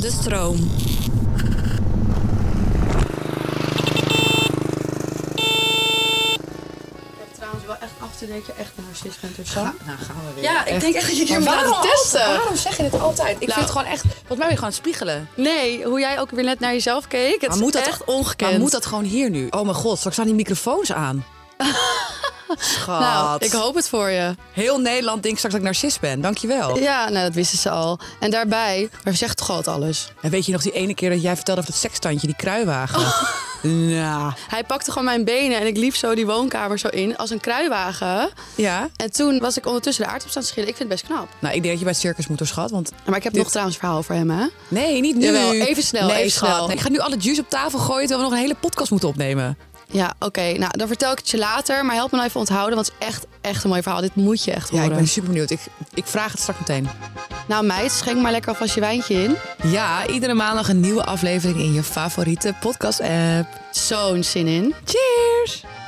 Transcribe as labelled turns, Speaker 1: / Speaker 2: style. Speaker 1: de stroom.
Speaker 2: Ik heb trouwens wel echt af te denken, echt narcist bent of zo.
Speaker 3: Ga- nou gaan we weer.
Speaker 1: Ja, ik denk echt dat je hier moet
Speaker 3: waarom,
Speaker 1: laten testen.
Speaker 3: altijd? waarom zeg je dit altijd? Ik
Speaker 1: Nou.
Speaker 3: vind het gewoon echt... Volgens mij wil je gewoon spiegelen.
Speaker 1: Nee, hoe jij ook weer net naar jezelf keek. Het
Speaker 3: Maar
Speaker 1: is
Speaker 3: moet dat-
Speaker 1: echt ongekend.
Speaker 3: Maar moet dat gewoon hier nu? Oh mijn god, straks staan die microfoons aan. Schat.
Speaker 1: Nou, ik hoop het voor je.
Speaker 3: Heel Nederland denkt straks dat ik narcist ben. Dankjewel.
Speaker 1: Ja, nou dat wisten ze al. En daarbij, maar zegt toch altijd alles.
Speaker 3: En weet je nog die ene keer dat jij vertelde over dat sekstandje, die kruiwagen?
Speaker 1: Oh.
Speaker 3: Nou.
Speaker 1: Hij pakte gewoon mijn benen en ik liep zo die woonkamer zo in als een kruiwagen.
Speaker 3: Ja.
Speaker 1: En toen was ik ondertussen de aardappels aan het schillen. Ik vind het best knap.
Speaker 3: Nou, ik denk dat je bij het circus moet door, schat. Want
Speaker 1: Maar ik heb nog trouwens een verhaal voor hem, hè?
Speaker 3: nee, niet nu.
Speaker 1: Jawel, even snel,
Speaker 3: Nee,
Speaker 1: even
Speaker 3: schat.
Speaker 1: snel.
Speaker 3: Nee, ik ga nu alle juice op tafel gooien terwijl we nog een hele podcast moeten opnemen.
Speaker 1: Ja, oké. Nou, dan vertel ik het je later. Maar help me nou even onthouden, want het is echt, echt een mooi verhaal. Dit moet je echt
Speaker 3: Ja,
Speaker 1: horen.
Speaker 3: ik ben super benieuwd. Ik, ik vraag het straks meteen.
Speaker 1: Nou meid, schenk maar lekker alvast je wijntje in.
Speaker 3: Ja, iedere maandag een nieuwe aflevering in je favoriete podcast-app.
Speaker 1: Zo'n zin in.
Speaker 3: Cheers!